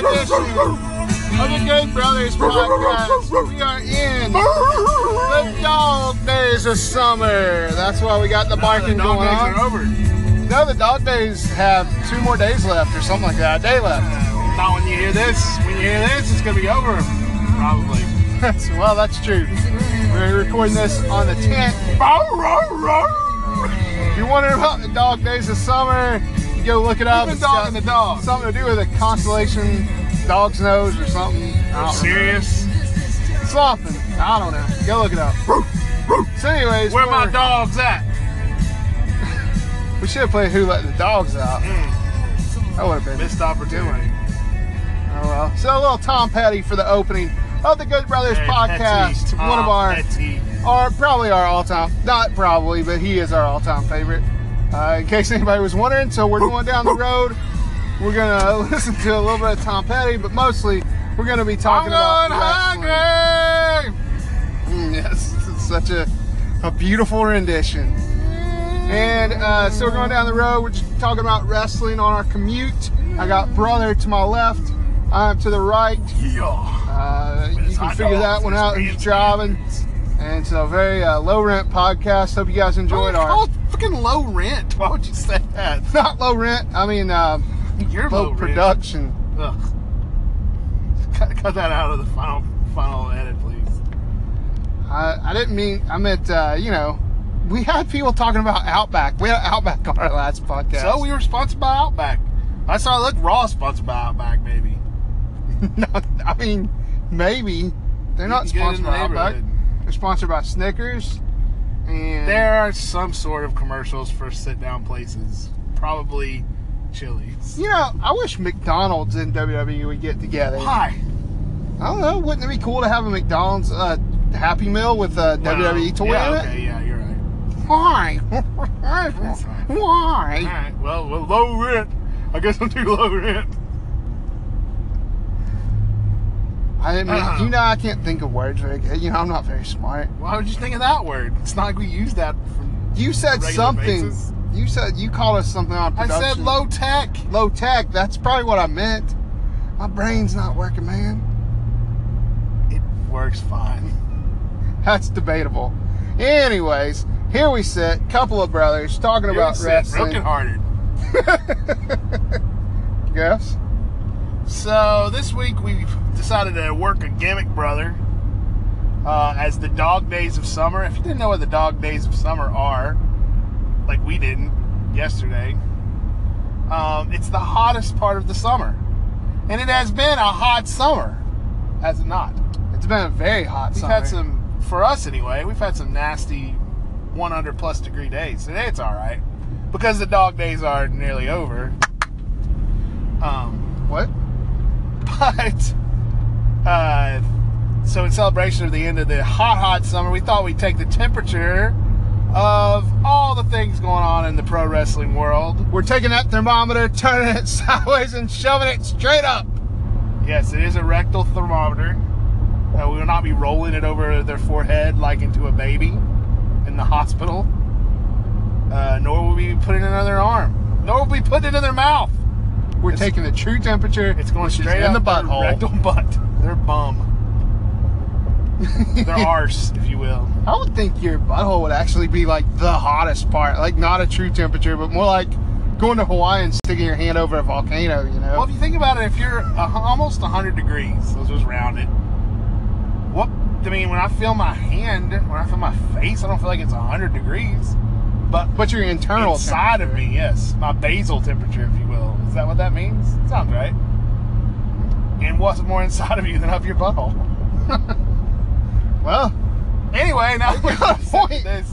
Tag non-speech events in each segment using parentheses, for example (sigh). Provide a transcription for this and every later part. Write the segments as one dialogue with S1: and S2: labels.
S1: of the Gay Brothers podcast. We are in the dog days of summer. That's why we got the barking
S2: dog
S1: going
S2: days
S1: on.
S2: are over.
S1: No, the dog days have two more days left or something like that. A day left.
S2: Not when you hear this. When you hear this, it's gonna be over. Probably.
S1: That's- (laughs) well, that's true. We're recording this on the 10th. If you're wondering about the dog days of summer, you go look it up.
S2: been
S1: It's got
S2: dogging the dog?
S1: Something to do with a constellation dog's nose or something. I don't know.
S2: Serious?
S1: Something. I don't know. Go look it up. So, anyways,
S2: Where my
S1: we're-
S2: dogs at?
S1: we should have played Who Let the Dogs Out.
S2: Mm,
S1: That would have been
S2: missed opportunity.
S1: Oh well. So a little Tom Petty for the opening of the Good Brothers
S2: Hey,
S1: podcast.
S2: Petty,
S1: One of
S2: Tom
S1: our,
S2: Petty.
S1: our probably our all-time, not probably, but he is our all-time favorite. Uh, in case anybody was wondering, so we're going down the road. We're gonna (laughs) listen to a little bit of Tom Petty, but mostly we're gonna be
S2: I'm
S1: talking
S2: going
S1: about wrestling.
S2: hungry.
S1: Mm, yes, it's such a, a beautiful rendition. And uh, so we're going down the road. We're just talking about wrestling on our commute. I got brother to my left. I'm to the right.
S2: Yeah.
S1: Uh, you
S2: It's
S1: can
S2: hot
S1: figure that
S2: dogs,
S1: one
S2: it's
S1: out if you're
S2: beans.
S1: driving. And it's a very uh, low rent podcast. Hope you guys enjoyed
S2: Why
S1: our.
S2: would you call it freaking low rent. Why would you say that?
S1: Not low rent. I mean, uh,
S2: You're
S1: low
S2: rent.
S1: production.
S2: Ugh. Cut, cut that out of the final final edit, please.
S1: I, I didn't mean. I meant uh, you know, we had people talking about Outback. We had Outback on our last podcast.
S2: So we were sponsored by Outback. I saw look raw sponsored by Outback, maybe.
S1: (laughs) no, I mean, maybe they're
S2: You
S1: not
S2: can get it in
S1: sponsored
S2: the
S1: by Outback.
S2: neighborhood.
S1: They're sponsored by Snickers. And
S2: There are some sort of commercials for sit down places. Probably Chili's.
S1: You know, I wish McDonald's and WWE would get together.
S2: Why?
S1: I don't know. Wouldn't it be cool to have a McDonald's uh, Happy Meal with uh, a WWE E toy
S2: yeah,
S1: in it?
S2: okay, yeah, you're right. (laughs)
S1: Why? Why?
S2: Alright, well, well low rent. I guess I'm too low rent.
S1: I didn't mean,
S2: Uh-huh.
S1: you know, I can't think of words very good. You know, I'm not very smart.
S2: Why would you think of that word? It's not like we use that for
S1: You said
S2: Regular
S1: something.
S2: basis.
S1: You said you called us something on
S2: I
S1: production.
S2: said low tech.
S1: low tech. That's probably what I meant. My brain's not working, man.
S2: It works fine.
S1: That's debatable. Anyways, here we sit, couple of brothers talking
S2: You're
S1: about
S2: sick,
S1: wrestling. (laughs)
S2: brokenhearted.
S1: Yes.
S2: So this week we've decided to work a gimmick, brother, uh, as the dog days of summer. If you didn't know what the dog days of summer are, like we didn't yesterday, um, it's the hottest part of the summer, and it has been a hot summer, has it not?
S1: It's been a very hot
S2: We've
S1: summer.
S2: had some, for us anyway, we've had some nasty 100 plus degree days. Today it's all right because the dog days are nearly over. Um, (laughs)
S1: what?
S2: but uh, so in celebration of the end of the hot, hot summer, we thought we'd take the temperature of all the things going on in the pro wrestling world.
S1: We're taking that thermometer, turning it (laughs) sideways, and shoving it straight up.
S2: Yes, it is a rectal thermometer. Uh, we will not be rolling it over their forehead like into a baby in the hospital. Uh, nor will we be putting it in their arm. Nor will we put it in their mouth.
S1: We're
S2: It's-
S1: taking the true temperature.
S2: It's going
S1: which is
S2: straight
S1: in
S2: up
S1: the
S2: their
S1: butthole.
S2: Rectal butt. Their bum.
S1: (laughs)
S2: their arse, if you will.
S1: I would think your butthole would actually be like the hottest part, like not a true temperature, but more like going to Hawaii and sticking your hand over a volcano. You know.
S2: Well, if you think about it, if you're uh, almost 100 degrees, let's just round it. What I mean, when I feel my hand, when I feel my face, I don't feel like it's 100 degrees, but
S1: but your internal
S2: inside of me, yes, my basal temperature, if you will. Is that what that means? Sounds right. And what's more inside of you than up your butthole?
S1: temperature. Well,
S2: Anyway, now we're
S1: (laughs) got a point.
S2: This.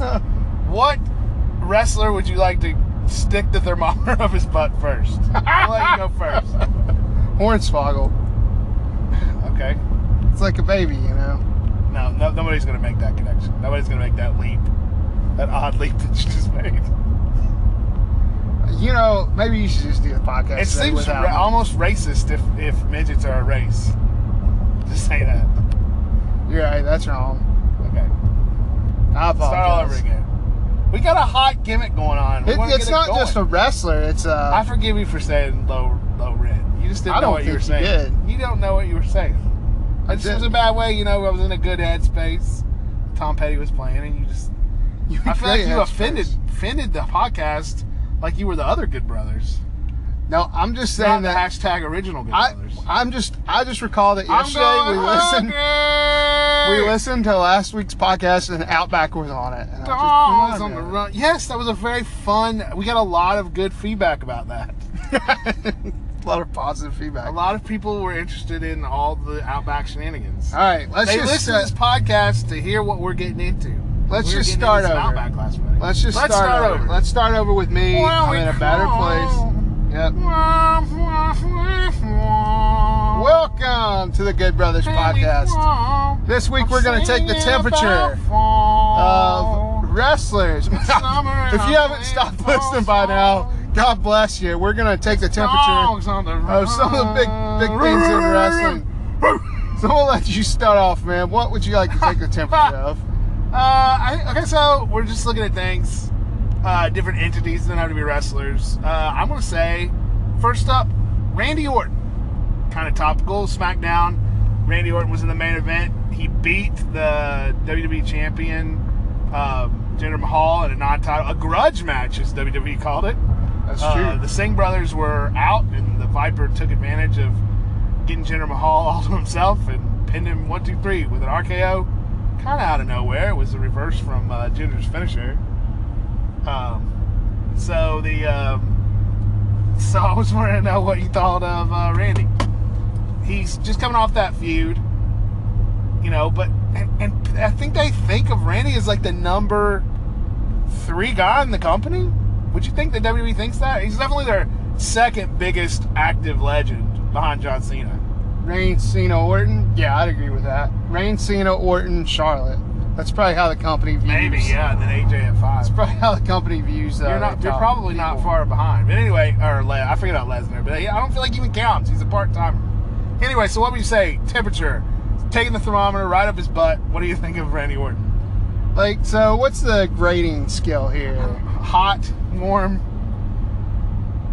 S2: What wrestler would you like to stick the thermometer (laughs) of his butt first? I'll let you go first.
S1: hornswoggle.
S2: Okay.
S1: It's like a baby, you know.
S2: No, no, nobody's gonna make that connection. Nobody's gonna make that leap, that odd leap that you just made.
S1: You know, maybe you should just do the podcast.
S2: it
S1: today
S2: seems
S1: without
S2: ra-
S1: me.
S2: almost racist if if midgets are a race. Just say that.
S1: You're right. That's wrong.
S2: Okay.
S1: I apologize.
S2: Start all over again. We got a hot gimmick going on. We
S1: It,
S2: wanna
S1: it's
S2: get
S1: not
S2: going.
S1: just a wrestler. It's uh,
S2: I
S1: a.
S2: forgive you for saying low low rent. You just didn't
S1: I
S2: know
S1: don't
S2: what you were
S1: think you
S2: saying. You don't know what you were saying.
S1: I
S2: It just
S1: didn't.
S2: was a bad way, you know. I was in a good headspace. Tom Petty was playing, and you just.
S1: (laughs) you
S2: I feel
S1: great
S2: like you
S1: headspace.
S2: offended offended the podcast, like you were the other Good Brothers.
S1: No, I'm just
S2: Saying
S1: saying
S2: the
S1: that.
S2: hashtag original Good
S1: I,
S2: Brothers.
S1: I'm just. I just recall that
S2: I'm
S1: yesterday we
S2: going
S1: listened.
S2: hungry.
S1: We listened to last week's podcast and Outback was on it. and I
S2: Dogs
S1: was just-
S2: on the run. Yes, that was a very fun. We got a lot of good feedback about that.
S1: (laughs) a lot of positive feedback.
S2: A lot of people were interested in all the Outback shenanigans.
S1: All right, let's
S2: they
S1: just
S2: listen
S1: uh,
S2: to this podcast to hear what we're getting into.
S1: Let's
S2: We were
S1: just
S2: getting
S1: start
S2: into some
S1: over.
S2: Outback last Friday.
S1: let's just start, over. Let's start over with me.
S2: Well,
S1: I'm
S2: we
S1: in a better
S2: call-
S1: place. Yep. Welcome to the Good Brothers podcast.
S2: podcast.
S1: This week we're going to take the temperature of wrestlers. (laughs) if you haven't stopped listening by now, God bless you. We're going to take the temperature of some of the big big things in wrestling. So we'll let you start off, man. What would you like to (laughs) take the temperature of?
S2: Uh, I, okay, so we're just looking at things, uh, different entities that have to be wrestlers. Uh, I'm gonna say, first up, Randy Orton, kind of topical. SmackDown, Randy Orton was in the main event. He beat the WWE champion, uh, Jinder Mahal, in a non-title, a grudge match, as WWE called it.
S1: That's
S2: Uh, the Singh brothers were out, and the Viper took advantage of getting Jinder Mahal (laughs) all to himself and pinned him one, two, three with an RKO, kind of out of nowhere. It was the reverse from uh, Jinder's finisher. Um, so the um, (laughs) so I was wanting to know what you thought of uh, Randy. He's just coming off that feud, you know. But and, and I think they think of Randy as like the number three guy in the company? Would you think that WWE thinks that? He's definitely their second biggest active legend behind John Cena.
S1: Reigns, Cena, Orton. Yeah, I'd agree with that. Reigns, Cena, Orton, Charlotte. That's probably how the company views.
S2: Maybe, yeah, and then AJ at five.
S1: That's probably how the company views. Uh,
S2: You're, not,
S1: their
S2: you're
S1: top
S2: probably not
S1: people.
S2: far behind. But anyway, or Le- I forget about Lesnar, but he, I don't feel like he even counts. He's a part timer. Anyway, so what would you say? Temperature. Taking the thermometer right up his butt. What do you think of Randy Orton?
S1: Like, so what's the grading scale here?
S2: Hot, warm,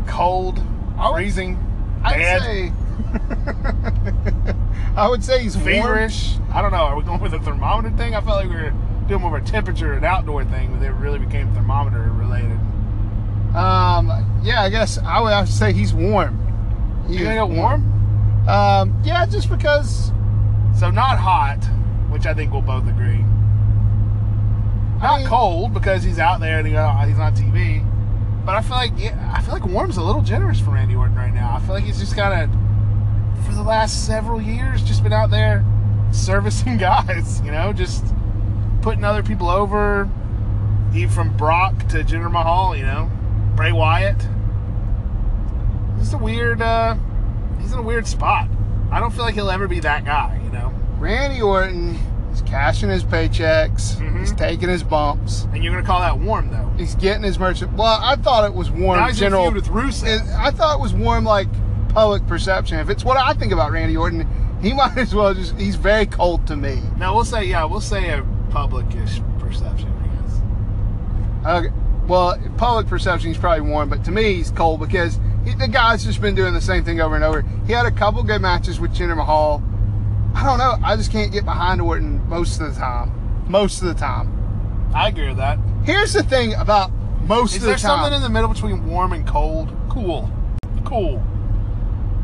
S2: cold,
S1: I would-
S2: freezing,
S1: I'd
S2: bad,
S1: say. (laughs) I would say he's warm.
S2: feverish. I don't know. Are we going with a thermometer thing? I felt like we were doing more of a temperature and outdoor thing, but it really became thermometer related.
S1: Um, yeah, I guess I would have to say he's warm. He
S2: You
S1: is
S2: gonna go warm?
S1: Um, yeah, just because.
S2: So not hot, which I think we'll both agree. Not
S1: mean-
S2: cold because he's out there and he, uh, he's on TV. But I feel like yeah, I feel like warm's a little generous for Randy Orton right now. I feel like he's just kind of for the last several years just been out there servicing (laughs) guys, you know, just putting other people over. Even from Brock to Jinder Mahal, you know, Bray Wyatt. Just a weird. uh He's in a weird spot. I don't feel like he'll ever be that guy, you know.
S1: Randy Orton is cashing his paychecks.
S2: Mhm.
S1: He's taking his bumps.
S2: And you're gonna call that warm though.
S1: He's getting his merchant. Well, I thought it was warm
S2: now he's in a
S1: general.
S2: feud with
S1: it,
S2: Rusev.
S1: I thought it was warm, like public perception. If it's what I think about Randy Orton, he (laughs) might as well just, he's very cold to me.
S2: now we'll say yeah, we'll say a publicish perception, I guess.
S1: Okay. Well, public perception, he's probably warm, but to me, he's cold because he, the guy's just been doing the same thing over and over. He had a couple good matches with Jinder Mahal. I don't know. I just can't get behind Orton most of the time. Most of the time.
S2: I agree with that.
S1: Here's the thing about most
S2: Is
S1: of the
S2: there
S1: time.
S2: something in the middle between warm and cold? Cool. Cool.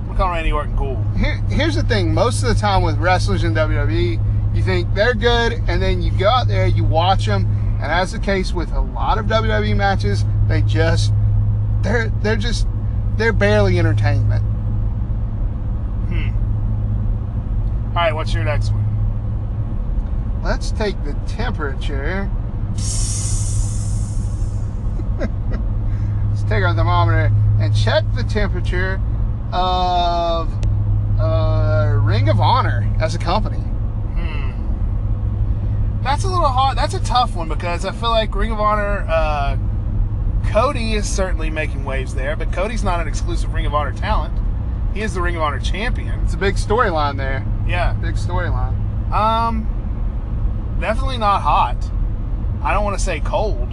S2: We'll call Randy Orton cool.
S1: Here, here's the thing most of the time with wrestlers in WWE, you think they're good, and then you go out there, you watch them, and as the case with a lot of WWE matches, they just, they're, they're just, they're barely entertainment.
S2: Hmm. Alright, what's your next one?
S1: Let's take the temperature. Let's take our thermometer and check the temperature of uh, Ring of Honor as a company.
S2: Hmm. That's a little hard. That's a tough one because I feel like Ring of Honor. Uh, Cody is certainly making waves there, but Cody's not an exclusive Ring of Honor talent. He is the Ring of Honor champion.
S1: It's a big storyline there.
S2: Yeah.
S1: Big storyline.
S2: Um. Definitely not hot. I don't want to say cold.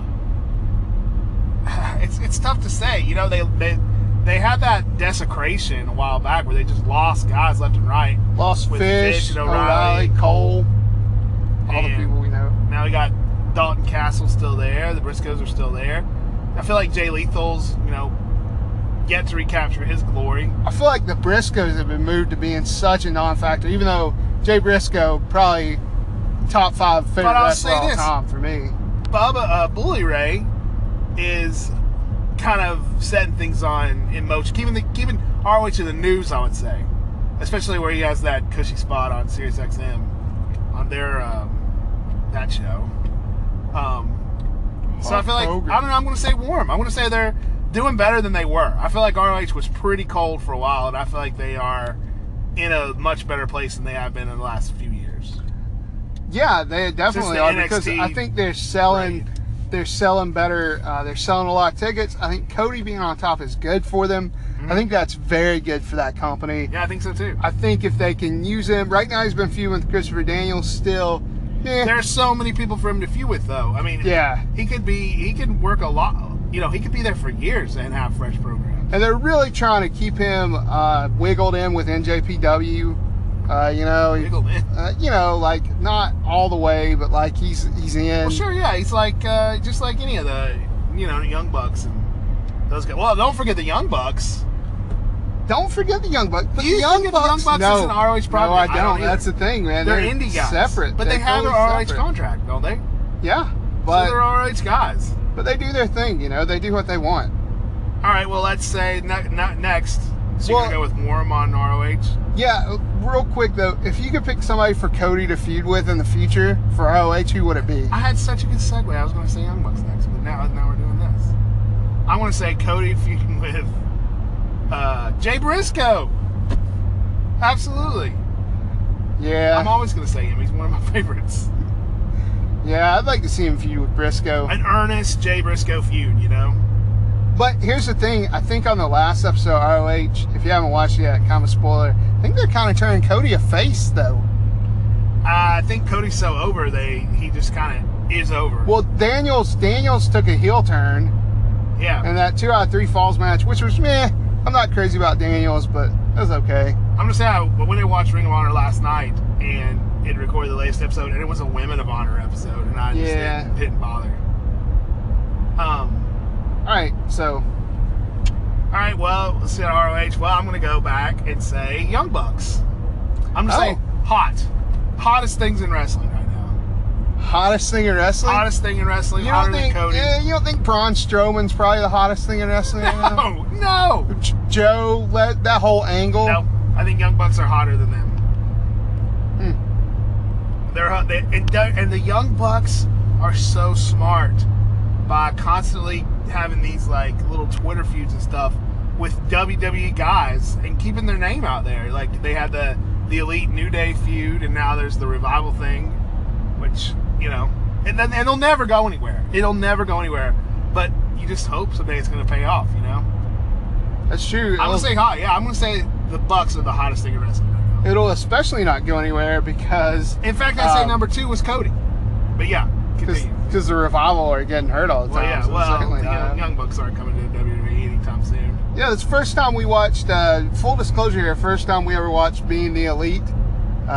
S2: (sighs) it's it's tough to say. You know, they they they had that desecration a while back where they just lost guys left and right.
S1: Lost
S2: With
S1: Fish,
S2: Fish and
S1: O'Reilly,
S2: O'Reilly,
S1: Cole, all the
S2: and-
S1: people we know.
S2: Now we got Dalton Castle still there. The Briscoes are still there. I feel like Jay Lethal's, you know, yet to recapture his glory.
S1: I feel like the Briscoes have been moved to being such a non-factor, even though Jay Briscoe probably top five favorite
S2: But I'll
S1: wrestler
S2: say
S1: all
S2: this.
S1: time for me.
S2: Bubba uh, Bully Ray is kind of setting things on in motion, keeping the keeping ROH in the news. I would say, especially where he has that cushy spot on Sirius XM on their um, that show. Um, so I feel like
S1: Hulk Hogan.
S2: I don't know. I'm going to say warm. I'm going to say they're doing better than they were. I feel like ROH was pretty cold for a while, and I feel like they are in a much better place than they have been in the last few years.
S1: Yeah, they definitely
S2: the
S1: are because
S2: NXT
S1: I think they're selling.
S2: raid.
S1: They're selling better. Uh, they're selling a lot of tickets. I think Cody being on top is good for them. I think that's very good for that company.
S2: Mm-hmm. Yeah, I think so too.
S1: I think if they can use him right now, he's been feuding with Christopher Daniels still. Eh,
S2: There's so many people for him to feud with, though. I mean,
S1: yeah,
S2: he could be he could work a lot you know he could be there for years and have fresh programs
S1: and they're really trying to keep him uh, wiggled in with NJPW. Uh, you know, he-
S2: Wiggled in.
S1: uh, you know, like not all the way, but like he's he's in.
S2: well sure yeah he's like uh, just like any of the you know the young bucks and those guys well don't forget the young bucks
S1: Don't forget the Young Bucks. But
S2: You
S1: the Young
S2: think of the
S1: Bucks,
S2: Young Bucks
S1: no,
S2: as an ROH
S1: No,
S2: problem?
S1: I
S2: I
S1: don't.
S2: don't either.
S1: That's the thing, man.
S2: they're, indie guys
S1: Separate,
S2: but they
S1: They're
S2: have their
S1: totally
S2: ROH
S1: separate.
S2: contract don't they
S1: Yeah,
S2: so they're
S1: but
S2: ROH guys
S1: but they do their thing. You know, they do what they want.
S2: all right well let's say ne- ne- next so you're
S1: Well-
S2: gonna go with Warm on ROH
S1: Yeah, real quick though, if you could pick somebody for Cody to feud with in the future for ROH, who would it be?
S2: I had such a good segue. I was going to say Young Bucks next, but now now we're doing this. I want to say Cody feuding with uh, Jay Briscoe. Absolutely.
S1: Yeah,
S2: I'm always going to say him. He's one of my (laughs) favorites.
S1: yeah, I'd like to see him feud with Briscoe.
S2: An earnest Jay Briscoe feud, you know?
S1: But here's the thing: I think on the last episode of ROH, if you haven't watched it yet, kind of a spoiler. I think they're kind of turning Cody a face though.
S2: I think Cody's so over, they he just kind of is over.
S1: Well, Daniels Daniels took a heel turn
S2: yeah.
S1: and that two out of three falls match, which was meh. I'm not crazy about Daniels, but it was okay.
S2: I'm gonna say I went and watched Ring of Honor last night and it recorded the latest episode and it was a Women of Honor episode and I just
S1: Yeah.
S2: didn't, didn't bother. Um,
S1: All right, so
S2: All right, well, let's see ROH. Well, I'm going to go back and say Young Bucks. I'm going to
S1: Oh.
S2: say hot. Hottest things in wrestling right now.
S1: hottest thing in wrestling.
S2: Hottest thing in wrestling,
S1: you
S2: hotter
S1: don't think?
S2: than Cody. (laughs)
S1: Yeah, you don't think Braun Strowman's probably the hottest thing in wrestling? right now?
S2: no, Oh, no.
S1: J- Joe, let that whole angle.
S2: No, I think Young Bucks are hotter than them. They're hot. They, and, do- and the Young Bucks are so smart by constantly having these like little Twitter feuds and stuff with WWE guys and keeping their name out there. Like they had the the Elite New Day feud, and now there's the Revival thing, which you know, and then and they'll never go anywhere. It'll never go anywhere. But you just hope someday it's going to pay off. You know.
S1: That's true.
S2: I'm
S1: uh, It'll-
S2: gonna say hot. Yeah, I'm gonna say the Bucks are the hottest thing in wrestling right now.
S1: it'll especially not go anywhere because
S2: In fact, I say
S1: Um,
S2: number two was Cody. But yeah, continue.
S1: because the revival are getting hurt all the
S2: Well,
S1: time.
S2: yeah,
S1: so
S2: well,
S1: certainly
S2: the
S1: not.
S2: young, young Bucks aren't coming to WWE anytime soon.
S1: Yeah, it's the first time we watched. Uh, full disclosure here, first time we ever watched Being the Elite. Uh,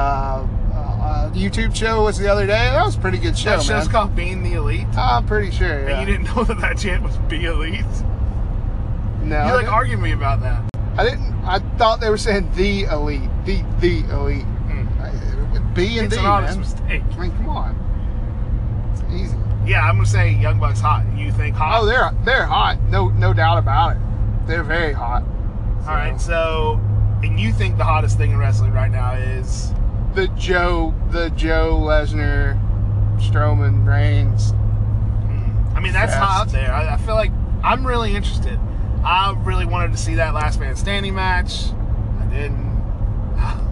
S1: uh, YouTube show was the other day. That was a pretty good show,
S2: that show's
S1: man.
S2: called Being the Elite,
S1: I'm pretty sure. Yeah.
S2: and you didn't know that that chant was Be Elite.
S1: no,
S2: You're
S1: I,
S2: like
S1: didn't,
S2: arguing with me about that.
S1: I didn't. I thought they were saying the elite, the the elite, I- B and
S2: Hmm. It's
S1: D,
S2: an honest
S1: man.
S2: mistake.
S1: I mean, come on, it's easy.
S2: Yeah, I'm gonna say Young Bucks hot. You think hot?
S1: Oh, they're they're hot. No, no doubt about it. They're very hot.
S2: All right, so and you think the hottest thing in wrestling right now is
S1: The Joe, the Joe Lesnar, Strowman, Reigns.
S2: I mean, that's
S1: Fast.
S2: high up there. I, I feel like I'm really interested. I really wanted to see that Last Man Standing match. I didn't,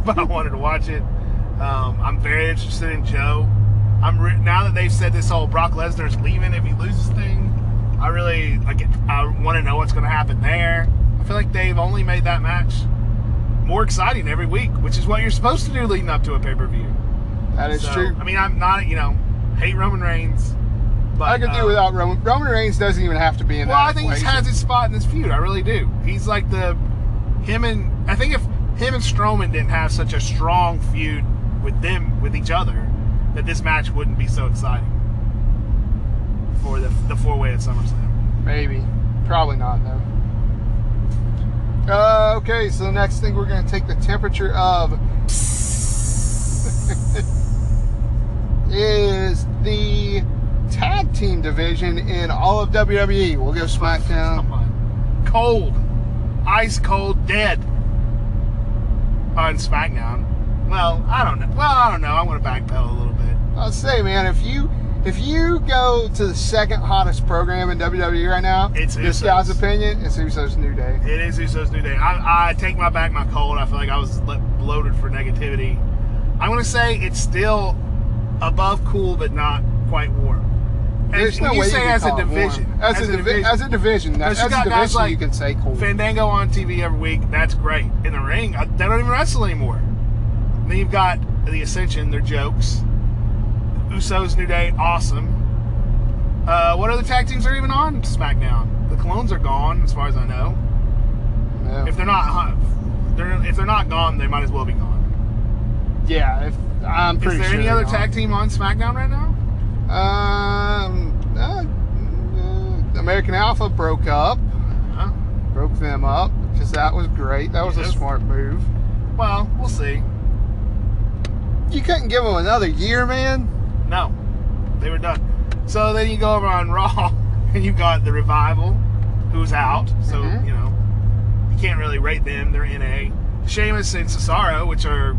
S2: (laughs) but I wanted to watch it. Um, I'm very interested in Joe. I'm re- now that they've said this whole Brock Lesnar's leaving if he loses thing. I really like. it- I want to know what's going to happen there. I feel like they've only made that match more exciting every week, which is what you're supposed to do leading up to a pay per view.
S1: That is
S2: So,
S1: true.
S2: I mean, I'm not, you know, hate Roman Reigns. But,
S1: I could do
S2: uh,
S1: without Roman. Roman Reigns doesn't even have to be in
S2: Well,
S1: that
S2: I think he
S1: equation.
S2: has his spot in this feud. I really do. He's like the him and I think if him and Strowman didn't have such a strong feud with them with each other, that this match wouldn't be so exciting for the the four way at SummerSlam.
S1: Maybe. Probably not, though. Uh, okay, so the next thing we're going to take the temperature of (laughs) is the tag team division in all of WWE. We'll go
S2: Come
S1: SmackDown.
S2: on, cold, ice cold, dead on SmackDown. Well, I don't know. Well, I don't know. I'm gonna backpedal a little bit.
S1: I'll say, man, if you if you go to the second hottest program in WWE right now,
S2: It's
S1: this
S2: Usos.
S1: guy's opinion, it's Usos New Day.
S2: It is Usos New Day. I, I take my back, my cold. I feel like I was le- bloated for negativity. I'm going to say it's still above cool, but not quite warm. And
S1: There's
S2: when
S1: no
S2: you
S1: way
S2: say
S1: can
S2: as, a
S1: call it warm.
S2: division,
S1: as, a, divi- as a division,
S2: But
S1: as
S2: you
S1: a
S2: got guys
S1: division,
S2: like
S1: you can say cool.
S2: Fandango on TV every week, that's great. In the ring, uh, they don't even wrestle anymore. And then you've got The Ascension, their jokes. Usos New Day, awesome. Uh, what other tag teams are even on SmackDown? The Clones are gone, as far as I know.
S1: Yeah.
S2: If they're not, huh, they're, if they're not gone, they might as well be gone.
S1: Yeah, if, I'm
S2: Is
S1: pretty
S2: there
S1: sure.
S2: any other
S1: they're
S2: tag team on SmackDown right now?
S1: not. Um, uh, uh, American Alpha broke up,
S2: Huh?
S1: broke them up because that was great. That was
S2: Yes.
S1: a smart move.
S2: Well, we'll see.
S1: You couldn't give them another year, man.
S2: No, they were done. So then you go over on (laughs) Raw, and you've got the Revival, who's out. So
S1: Mhm.
S2: you know you can't really rate them. They're in a Sheamus and Cesaro, which are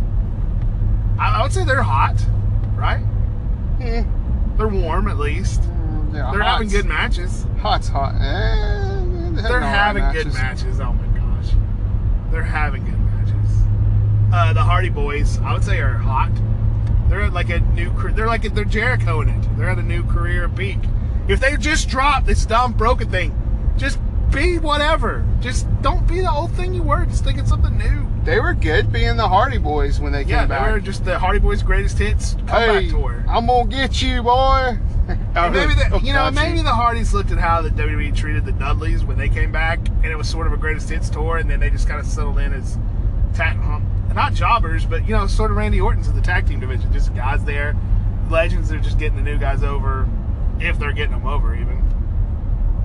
S2: I, I would say they're hot, right?
S1: Eh,
S2: They're warm at least.
S1: mm, yeah,
S2: They're having
S1: Hot's-
S2: good matches.
S1: Hot's hot. Eh, they're
S2: They're having
S1: all right
S2: good matches. Oh my gosh. They're having good matches. Uh, the Hardy Boys, I would say, are hot. They're at like a new. car- They're like they're Jericho in it. They're at a new career peak. If they just drop this dumb broken thing, just be whatever. Just don't be the old thing you were. Just think it's something new.
S1: They were good being the Hardy Boys when they
S2: Yeah,
S1: came
S2: they were
S1: back.
S2: just the Hardy Boys' greatest hits comeback
S1: hey,
S2: tour.
S1: I'm gonna get you,
S2: (laughs)
S1: boy.
S2: And maybe the, you know,
S1: Got
S2: maybe (laughs) the Hardys looked at how the WWE treated the Dudleys when they came back, and it was sort of a greatest hits tour, and then they just kind of settled in as tag, um, not jobbers, but you know, sort of Randy Orton's in the tag team division, just guys there, legends. They're just getting the new guys over, if they're getting them over even.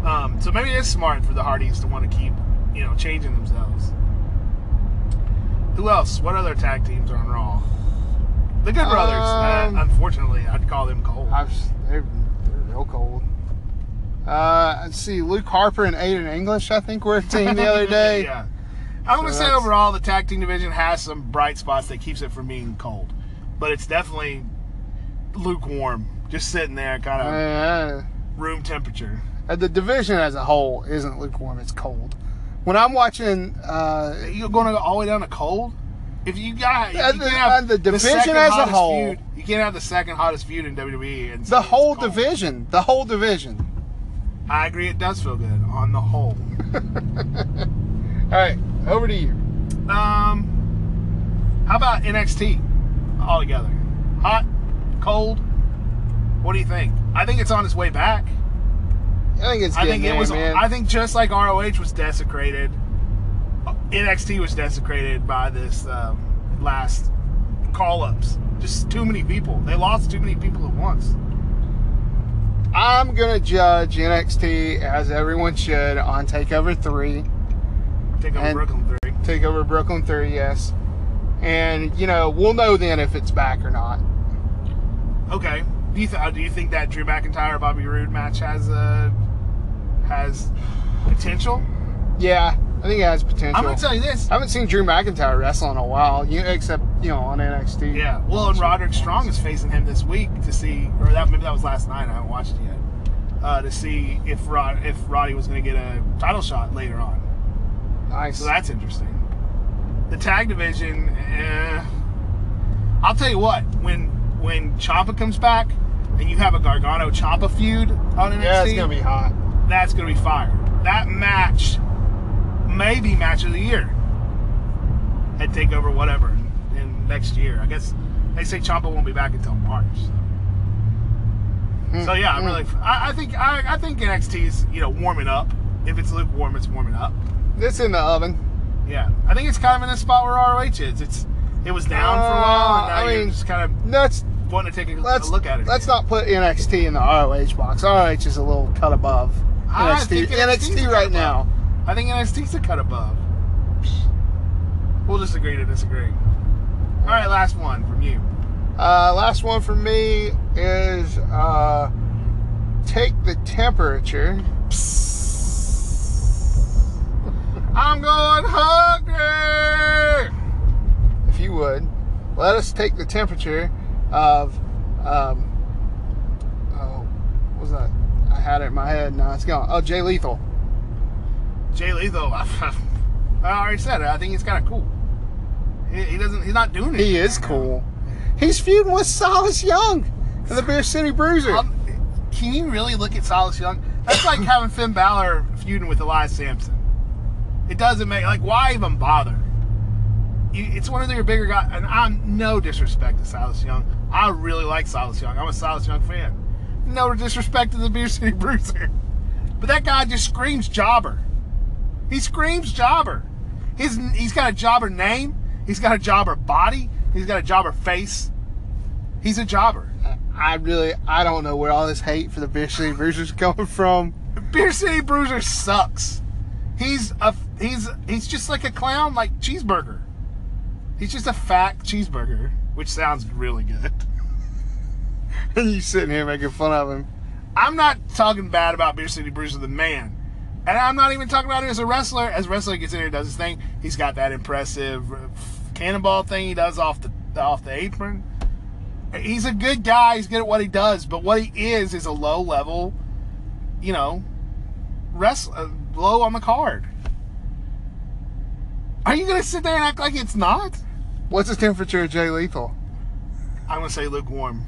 S2: Um, so maybe it's smart for the Hardys to want to keep, you know, changing themselves. Who else? What other tag teams are on Raw? The Good Brothers.
S1: Um,
S2: uh, unfortunately, I'd call them cold.
S1: I've, they're, they're real cold. Uh, let's see, Luke Harper and Aiden English, I think, were a team the
S2: (laughs)
S1: other day.
S2: yeah. I'm going to
S1: So
S2: say
S1: that's-
S2: overall, the tag team division has some bright spots that keeps it from being cold, but it's definitely lukewarm, just sitting there, kind of
S1: Uh,
S2: room temperature.
S1: uh, the division as a whole isn't lukewarm, it's cold. When I'm watching, uh,
S2: You're going to all the way down to cold. If you got you
S1: Uh,
S2: can't
S1: the- uh,
S2: have
S1: the division
S2: second
S1: as a
S2: hottest
S1: whole-
S2: feud- you can't have the second hottest feud in WWE and say
S1: the
S2: it's
S1: whole
S2: cold.
S1: division, the whole division.
S2: I agree, it does feel good on the whole.
S1: All right, over to you.
S2: Um, how about NXT altogether? Hot, cold. What do you think? I think it's on its way back.
S1: I think it's
S2: I
S1: getting
S2: think it
S1: there,
S2: was.
S1: man.
S2: I think just like ROH was desecrated, uh, NXT was desecrated by this um, last call-ups. Just too many people. They lost too many people at once.
S1: I'm gonna judge NXT as everyone should on Takeover Three.
S2: Take over
S1: And-
S2: Brooklyn three.
S1: take over Brooklyn 3, yes. And, you know, we'll know then if it's back or not.
S2: Okay. Do you th- uh, do you think that Drew McIntyre Bobby Roode match has uh, has potential?
S1: Yeah, I think it has potential.
S2: I'm gonna tell you this.
S1: I haven't seen Drew McIntyre wrestle in a while, you, except, you know, on NXT.
S2: Yeah. Well, and Roderick Strong is facing him this week to see, or that maybe that was last night. I haven't watched it yet. Uh, to see if Rod, if Roddy was going to get a title shot later on.
S1: Nice.
S2: So that's interesting. The tag division. Eh, I'll tell you what. When when Ciampa comes back, and you have a Gargano Ciampa feud on NXT,
S1: yeah, it's going to be hot.
S2: that's going to be fire. That match may be match of the year at Takeover, whatever, in next year. I guess they say Ciampa won't be back until March. So.
S1: Hmm.
S2: So yeah,
S1: Mm-hmm.
S2: I'm really. I, I think I, I think NXT's you know warming up. If it's lukewarm, it's warming up.
S1: It's in the oven.
S2: Yeah, I think it's kind of in the spot where ROH is. It's it was down for a while, and
S1: Uh,
S2: now
S1: I
S2: you're
S1: mean,
S2: just kind
S1: Let's
S2: of wanting to take a,
S1: let's
S2: a look at it.
S1: Let's not put NXT in the ROH box. ROH is a little cut above
S2: I
S1: NXT.
S2: think NXT 's a
S1: NXT
S2: cut
S1: right
S2: above.
S1: now.
S2: I think NXT's a cut above. We'll just agree to disagree. All right, last one from you.
S1: Uh, last one for me is uh, take the temperature.
S2: I'm going hungry.
S1: if you would, let us take the temperature of, um, oh, what was that? I had it in my head. Now it's gone. Oh, Jay Lethal.
S2: Jay Lethal. (laughs) I already said it. I think he's kind of cool. He, he doesn't. He's not doing it.
S1: He is cool. He's feuding with Silas Young and the Bear City Bruiser.
S2: Um, can you really look at Silas Young? That's like having Finn Balor feuding with Elias Sampson. It doesn't make like why even bother? You, it's one of their bigger guys, and I'm no disrespect to Silas Young. I really like Silas Young. I'm a Silas Young fan. No disrespect to the Beer City (laughs) Bruiser, but that guy just screams jobber. He screams jobber. His he's got a jobber name. He's got a jobber body. He's got a jobber face. He's a jobber.
S1: I really, I don't know where all this hate for the Bear City Bruiser is coming from. (laughs)
S2: Beer City Bruiser sucks. He's a he's he's just like a clown, like cheeseburger. He's just a fat cheeseburger, which sounds really good.
S1: And you sitting here making fun of him.
S2: I'm not talking bad about Beer City Bruiser, the man, and I'm not even talking about him as a wrestler. As a wrestler, he gets in here, does his thing. He's got that impressive uh, cannonball thing he does off the off the apron. He's a good guy. He's good at what he does, but what he is is a low level, you know, wrestler, uh, low on the card. Are you gonna sit there and act like it's not?
S1: What's the temperature of Jay Lethal? (laughs)
S2: I'm gonna say lukewarm.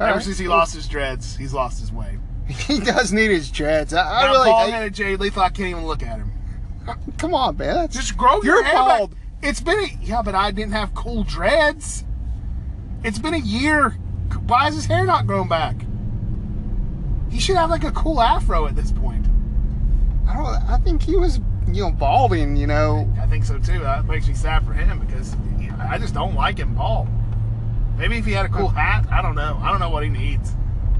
S1: All
S2: Ever
S1: right.
S2: since he lost his dreads, he's lost his way.
S1: He does need his dreads. I, I
S2: I really bald
S1: really hate.
S2: headed Jay Lethal. I can't even look at him.
S1: Come on, man. That's
S2: Just grow
S1: You're
S2: your hair back.
S1: bald.
S2: It's been a yeah, but I didn't have cool dreads. It's been a year. Why is his hair not grown back? He should have like a cool afro at this point.
S1: I don't. I think he was, you know, balding. You know,
S2: I think so too. That makes me sad for him because you know, I just don't like him bald. Maybe if he had a cool hat, I don't know. I don't know what he needs.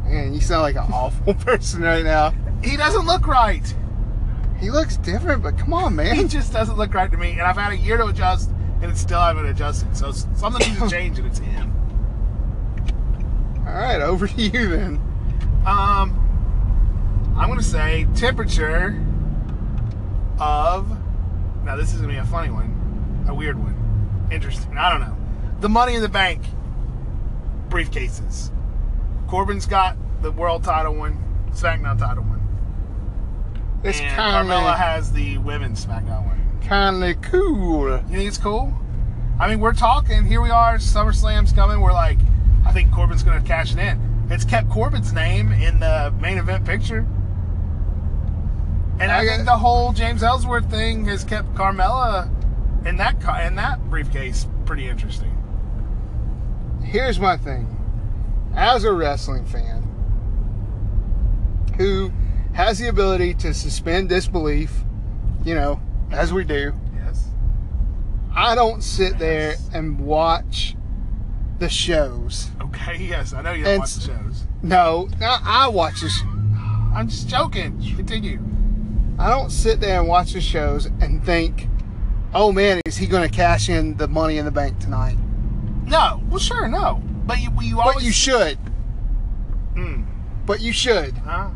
S1: man, you sound like an (laughs) awful person right now.
S2: He doesn't look right.
S1: He looks different, but come on, (laughs)
S2: He
S1: man.
S2: just doesn't look right to me, and I've had a year to adjust, and it's still haven't adjusted. So s- something
S1: (laughs)
S2: needs to change, and it's him.
S1: All right, over to you then.
S2: Um, I'm gonna say temperature of. Now this is gonna be a funny one, a weird one, interesting. I don't know. The Money in the Bank briefcases. Corbin's got the world title one, SmackDown title one,
S1: It's
S2: and Carmella
S1: kind
S2: has the women's SmackDown one.
S1: of kind of cool.
S2: You think it's cool? I mean, we're talking. Here we are. SummerSlam's coming. We're like, I think Corbin's gonna cash it in. It's kept Corbin's name in the main event picture. And I,
S1: I
S2: think
S1: got-
S2: the whole James Ellsworth thing has kept Carmella in that ca- in that briefcase pretty interesting.
S1: Here's my thing. As a wrestling fan who has the ability to suspend disbelief, you know, as we do,
S2: Yes.
S1: I don't sit there
S2: Yes.
S1: and watch the shows.
S2: Okay. (laughs) Yes, I know you don't
S1: And
S2: watch the shows.
S1: No, no, I watch the sh-
S2: I'm just joking. Continue.
S1: I don't sit there and watch the shows and think, oh man, is he going to cash in the money in the bank tonight?
S2: No. Well, sure. No. But you, you always.
S1: But you should.
S2: Mm,
S1: But you should.
S2: huh?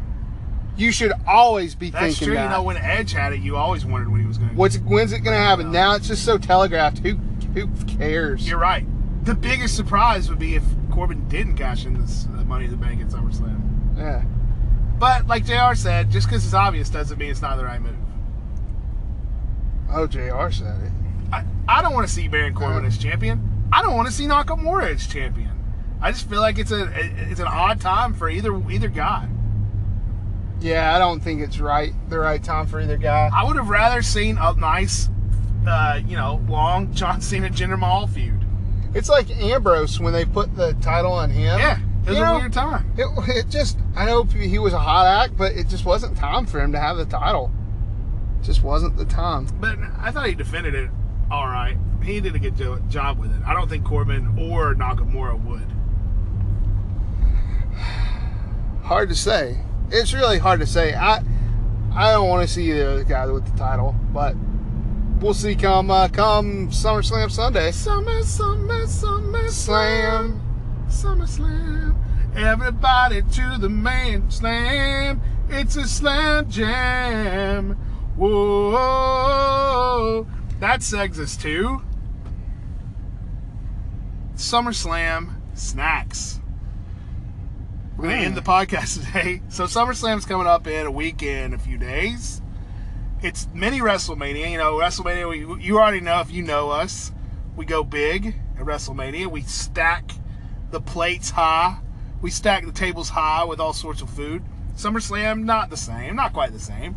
S1: You should always be
S2: That's
S1: thinking
S2: true.
S1: that.
S2: You know, when Edge had it, you always wondered when he was going to.
S1: What's when's it going to happen? Now it's just so telegraphed. Who who cares?
S2: You're right. The biggest surprise would be if Corbin didn't cash in this uh, Money in the Bank at SummerSlam.
S1: yeah.
S2: But like Jr. said, just because it's obvious doesn't mean it's not the right move.
S1: Oh, Jr. said it.
S2: I, I don't want to see Baron Corbin
S1: Uh.
S2: as champion. I don't want to see Nakamura as champion. I just feel like it's a it's an odd time for either either guy.
S1: Yeah, I don't think it's right. The right time for either guy.
S2: I would have rather seen a nice, uh, you know, long John Cena Jinder Mahal feud.
S1: It's like Ambrose when they put the title on him.
S2: Yeah. It was
S1: You
S2: a
S1: know,
S2: weird time.
S1: It, it just, I know he was a hot act, but it just wasn't time for him to have the title. Just wasn't the time.
S2: But I thought he defended it all right. He did a good jo- job with it. I don't think Corbin or Nakamura would.
S1: Hard to say. It's really hard to say. I, I don't want to see the other guy with the title, but we'll see. Come, uh, come SummerSlam Sunday.
S2: Summer, summer, summer
S1: Slam.
S2: summer slam. Everybody to the main slam. It's a slam jam. Whoa, that segs us to Summer Slam snacks. We're gonna end the podcast (laughs) today. So SummerSlam's coming up in a week in a few days. It's mini WrestleMania. You know, WrestleMania. We, you already know if you know us, we go big at WrestleMania. We stack the plates high. We stack the tables high with all sorts of food. SummerSlam, not the same, not quite the same,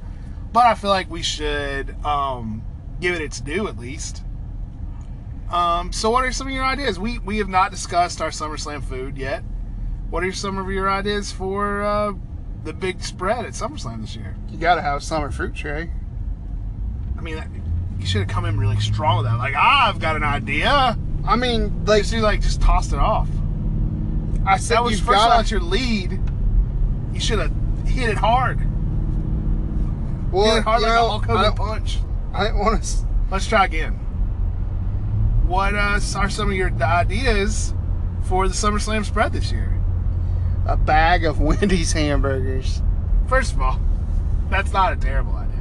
S2: but I feel like we should um, give it its due at least. Um, so, what are some of your ideas? We we have not discussed our SummerSlam food yet. What are some of your ideas for uh, the big spread at SummerSlam this year?
S1: You gotta have a summer fruit tray.
S2: I mean, that- you should have come in really strong with that. Like, ah, I've got an idea.
S1: I mean, like
S2: Just you like just tossed it off.
S1: I said,
S2: That was
S1: you've
S2: first
S1: got
S2: out your lead. You should have hit it hard. hit
S1: well,
S2: it hard
S1: you
S2: like
S1: know,
S2: a Hulk
S1: I
S2: Hogan
S1: don't-
S2: punch.
S1: I didn't want to.
S2: Let's try again. What uh, are some of your ideas for the SummerSlam spread this year?
S1: A bag of (laughs) Wendy's hamburgers.
S2: First of all, that's not a terrible idea.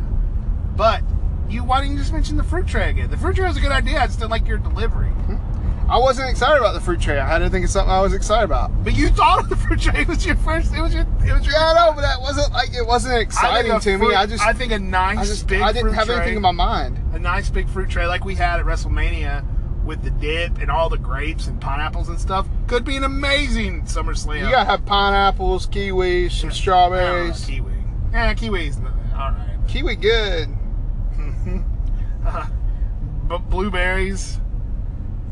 S2: But you, why didn't you just mention the fruit tray again? The fruit tray was a good idea. I just didn't like your delivery.
S1: Hmm? I wasn't excited about the fruit tray. I didn't think it's something I was excited about.
S2: But you thought of the fruit tray. It was your first. It was your. It was your.
S1: Yeah, I know, but that wasn't like it wasn't exciting
S2: I
S1: to
S2: think a
S1: me.
S2: fruit-
S1: I just,
S2: I
S1: I,
S2: think a nice
S1: just,
S2: big.
S1: I didn't
S2: fruit
S1: have
S2: tray,
S1: anything in my mind.
S2: A nice big fruit tray like we had at WrestleMania with the dip and all the grapes and pineapples and stuff could be an amazing SummerSlam.
S1: You gotta have pineapples, kiwis, some strawberries.
S2: kiwi. Yeah, kiwis. All right.
S1: Kiwi good.
S2: Uh, but blueberries.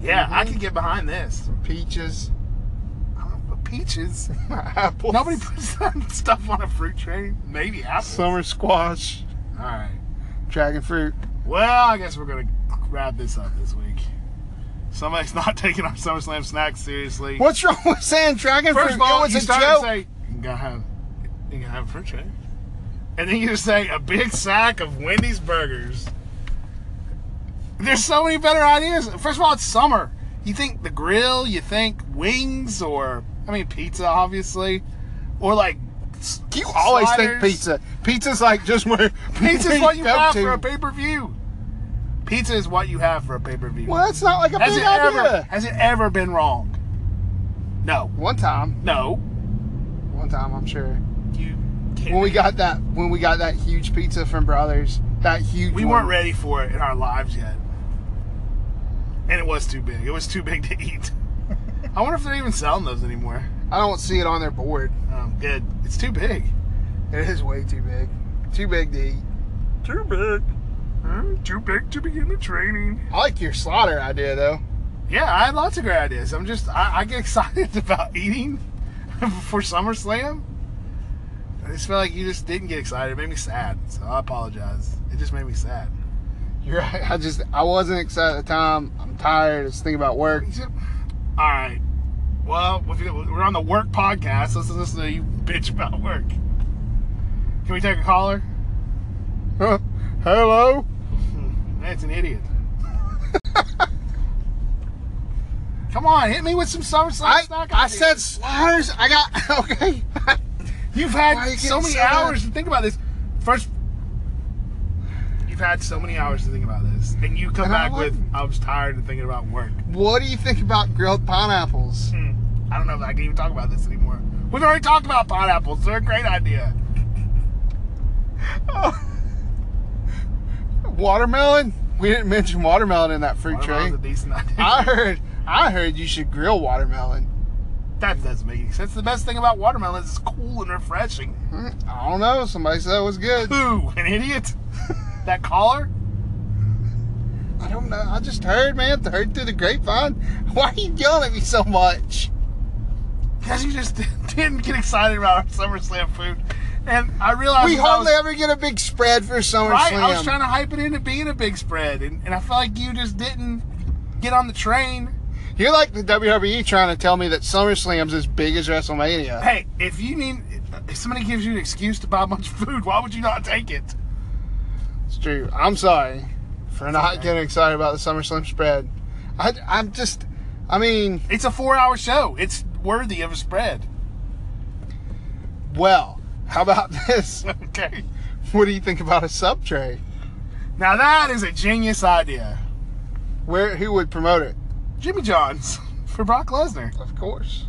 S2: Yeah, I
S1: Mm-hmm.
S2: could get behind this.
S1: Peaches, (laughs)
S2: I don't know, peaches. (laughs)
S1: apples.
S2: Nobody puts that stuff on a fruit tray. Maybe apples.
S1: Summer squash,
S2: All right.
S1: dragon fruit.
S2: Well, I guess we're gonna wrap this up this week. Somebody's (laughs) not taking our SummerSlam snacks seriously.
S1: What's wrong with saying dragon
S2: First
S1: fruit?
S2: of all,
S1: it was
S2: you
S1: a
S2: start
S1: joke.
S2: to say you gotta have, you gotta have a fruit tray, and then you just say a big sack of Wendy's burgers. There's so many better ideas. First of all, it's summer. You think the grill, you think wings, or I mean pizza, obviously, or like s-
S1: you always think
S2: sliders.
S1: pizza. Pizza's like just where
S2: (laughs)
S1: (laughs)
S2: Pizza's what you
S1: go
S2: have
S1: to.
S2: for a pay per view. Pizza is what you have for a pay per view.
S1: Well, that's not like a
S2: Has
S1: big
S2: it ever
S1: idea.
S2: has it ever been wrong? No,
S1: One time,
S2: no.
S1: one time, I'm sure.
S2: You
S1: When we got that, when we got that huge pizza from Brothers, that huge.
S2: we
S1: one.
S2: weren't ready for it in our lives yet, and it was too big. It was too big to (laughs) eat. I wonder if they're even selling those anymore.
S1: I don't see it on their board.
S2: Um, good. It's too big.
S1: It is way too big. Too big to eat.
S2: Too big. too big to begin the training.
S1: I like your slaughter idea though.
S2: Yeah, I had lots of great ideas. I'm just I, I get (laughs) excited about eating (laughs) for SummerSlam. I just feel like you just didn't get excited. It made me sad. So I apologize. It just made me sad.
S1: You're right. I just I wasn't excited at the time. I'm tired. Just thinking about work. (laughs)
S2: All right. Well, if you, we're on the work podcast. Let's listen to you bitch about work. Can we take a caller?
S1: Hello.
S2: That's an idiot. (laughs) Come on, hit me with some SummerSlam
S1: I
S2: stock.
S1: I
S2: ideas.
S1: said sliders. I got (laughs) okay.
S2: You've
S1: Why
S2: had
S1: are you
S2: so
S1: getting
S2: many
S1: so mad?
S2: hours to think about this. First, you've had so many hours to think about this, and you come
S1: And I
S2: back with,
S1: wasn't.
S2: "I was tired of thinking about work."
S1: What do you think about grilled pineapples?
S2: Hmm, I don't know if I can even talk about this anymore. We've already talked about pineapples. They're a great
S1: (laughs)
S2: idea.
S1: Oh, Watermelon? We didn't mention watermelon in that fruit
S2: Watermelon's
S1: tray.
S2: a decent idea.
S1: I heard I heard you should grill watermelon.
S2: (laughs) that doesn't make any sense. The best thing about watermelon is it's cool and refreshing.
S1: Hmm, I don't know. Somebody said it was (laughs) good.
S2: Who?
S1: (laughs)
S2: An idiot? that caller?
S1: I don't know. I (laughs) just heard, man. I heard through the grapevine. Why are you yelling at me so much?
S2: because you just (laughs) didn't get excited about our SummerSlam food. And I realized
S1: we
S2: as I was-
S1: hardly ever get a big spread for SummerSlam.
S2: Right, I was trying to hype it into being a big spread, and, and I feel like you just didn't get on the train.
S1: You're like the WWE E trying to tell me that SummerSlam's as big as WrestleMania.
S2: Hey, if you need, if somebody gives you an excuse to buy a bunch of food, why would you not take it?
S1: It's true. I'm sorry for not
S2: okay.
S1: getting excited about the SummerSlam spread. I, I'm just, I mean,
S2: It's a four-hour show. It's worthy of a spread. (laughs)
S1: well, how about (laughs) this?
S2: Okay.
S1: what do you think about a sub tray?
S2: Now that is a genius idea,
S1: Where, who would promote it?
S2: Jimmy John's (laughs) for Brock Lesnar.
S1: Of course.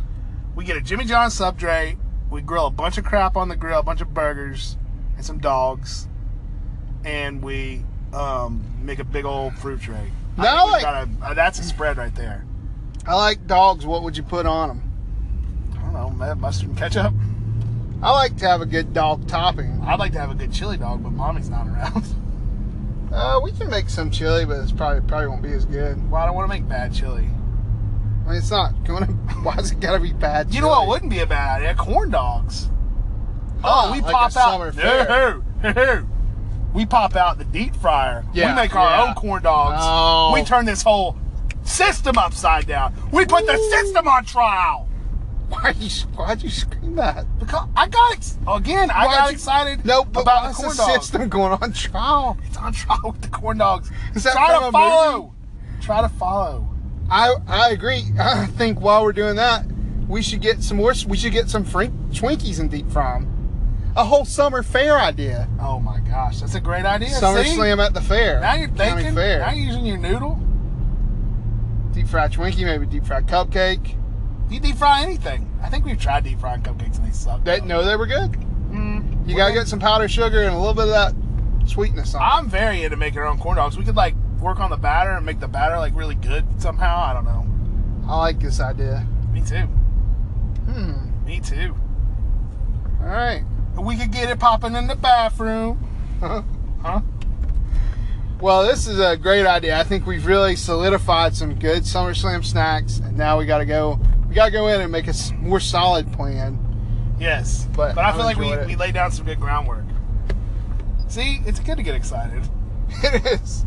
S2: We get a Jimmy John's sub tray. We grill a bunch of crap on the grill, a bunch of burgers and some dogs, and we um, make a big old fruit tray. I
S1: Now
S2: think we've
S1: I-
S2: got a- uh, that's a spread right there.
S1: I like dogs. What would you put on them?
S2: I don't know, ma- mustard and ketchup.
S1: I like to have a good dog topping.
S2: I'd like to have a good chili dog, but mommy's not around. (laughs)
S1: Uh, we can make some chili, but it's probably probably won't be as good.
S2: well, I don't want to make bad chili.
S1: I mean, it's not (laughs) going to. Why's it gotta be bad?
S2: You know what
S1: chili?
S2: wouldn't be a bad idea? Corn dogs.
S1: Ah,
S2: Oh, we
S1: like
S2: pop
S1: a
S2: out. (laughs)
S1: summer fair.
S2: No, no. We pop out the deep fryer.
S1: Yeah,
S2: we make our
S1: yeah.
S2: own corn dogs.
S1: Oh.
S2: We turn this whole system upside down. We put the system on trial.
S1: (laughs) Why are you? Why'd you scream that?
S2: Because I got ex- again, I
S1: Why'd
S2: got
S1: you-
S2: excited
S1: No, but
S2: about
S1: why
S2: the
S1: is
S2: corn
S1: the
S2: dogs.
S1: system (laughs) going on trial?
S2: It's on trial with the corn dogs.
S1: Is that
S2: Try
S1: from a
S2: to
S1: movie?
S2: follow. Try to follow.
S1: I I agree. (laughs) I think while we're doing that, we should get some more. We should get some frink, Twinkies and deep fry 'em. A whole summer fair idea.
S2: Oh my gosh, that's a great idea.
S1: summer
S2: See?
S1: slam at the fair.
S2: Now you're
S1: County
S2: thinking.
S1: fair.
S2: Now you're using your noodle.
S1: Deep fried Twinkie, maybe deep fried cupcake.
S2: You deep fry anything. I think we've tried deep frying cupcakes and they suck.
S1: They
S2: though.
S1: no, they were good.
S2: Mm,
S1: You
S2: we're
S1: gotta
S2: gonna-
S1: get some powdered sugar and a little bit of that sweetness on.
S2: I'm very into making our own corn dogs. We could like work on the batter and make the batter like really good somehow. I don't know.
S1: it. I like this idea.
S2: Me too.
S1: Hmm.
S2: Me too.
S1: All right.
S2: We could get it popping in the bathroom. Huh?
S1: (laughs) Well, this is a great idea. I think we've really solidified some good SummerSlam snacks, and now we got to go. We got to go in and make a s- more solid plan. (laughs)
S2: Yes.
S1: But
S2: I
S1: I've
S2: feel like we,
S1: enjoyed it.
S2: we laid down some good groundwork. See, it's good to get excited.
S1: It is.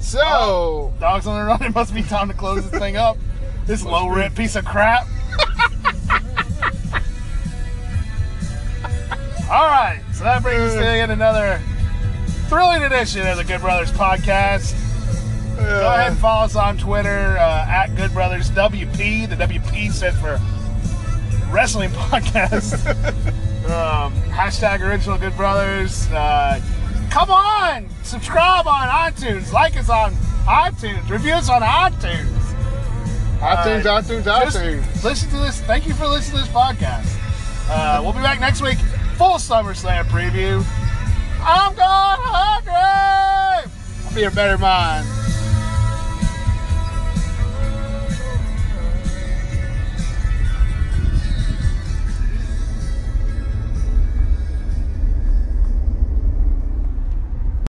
S1: So,
S2: Dogs on the run. (laughs) It must be time to close this
S1: (laughs)
S2: thing up. This low rent piece of crap. All right, so that brings us to the end of another thrilling edition of the Good Brothers podcast. Go ahead and follow us on Twitter uh, at Good Brothers WP. The WP stands for Wrestling Podcast. um, hashtag Original Good Brothers. Uh, come on, subscribe on iTunes, like us on iTunes, review us on iTunes.
S1: iTunes,
S2: uh,
S1: iTunes,
S2: Just
S1: iTunes.
S2: listen to this. Thank you for listening to this podcast. Uh, we'll be back next week, full SummerSlam preview. I'm going hungry.
S1: Be a better mind.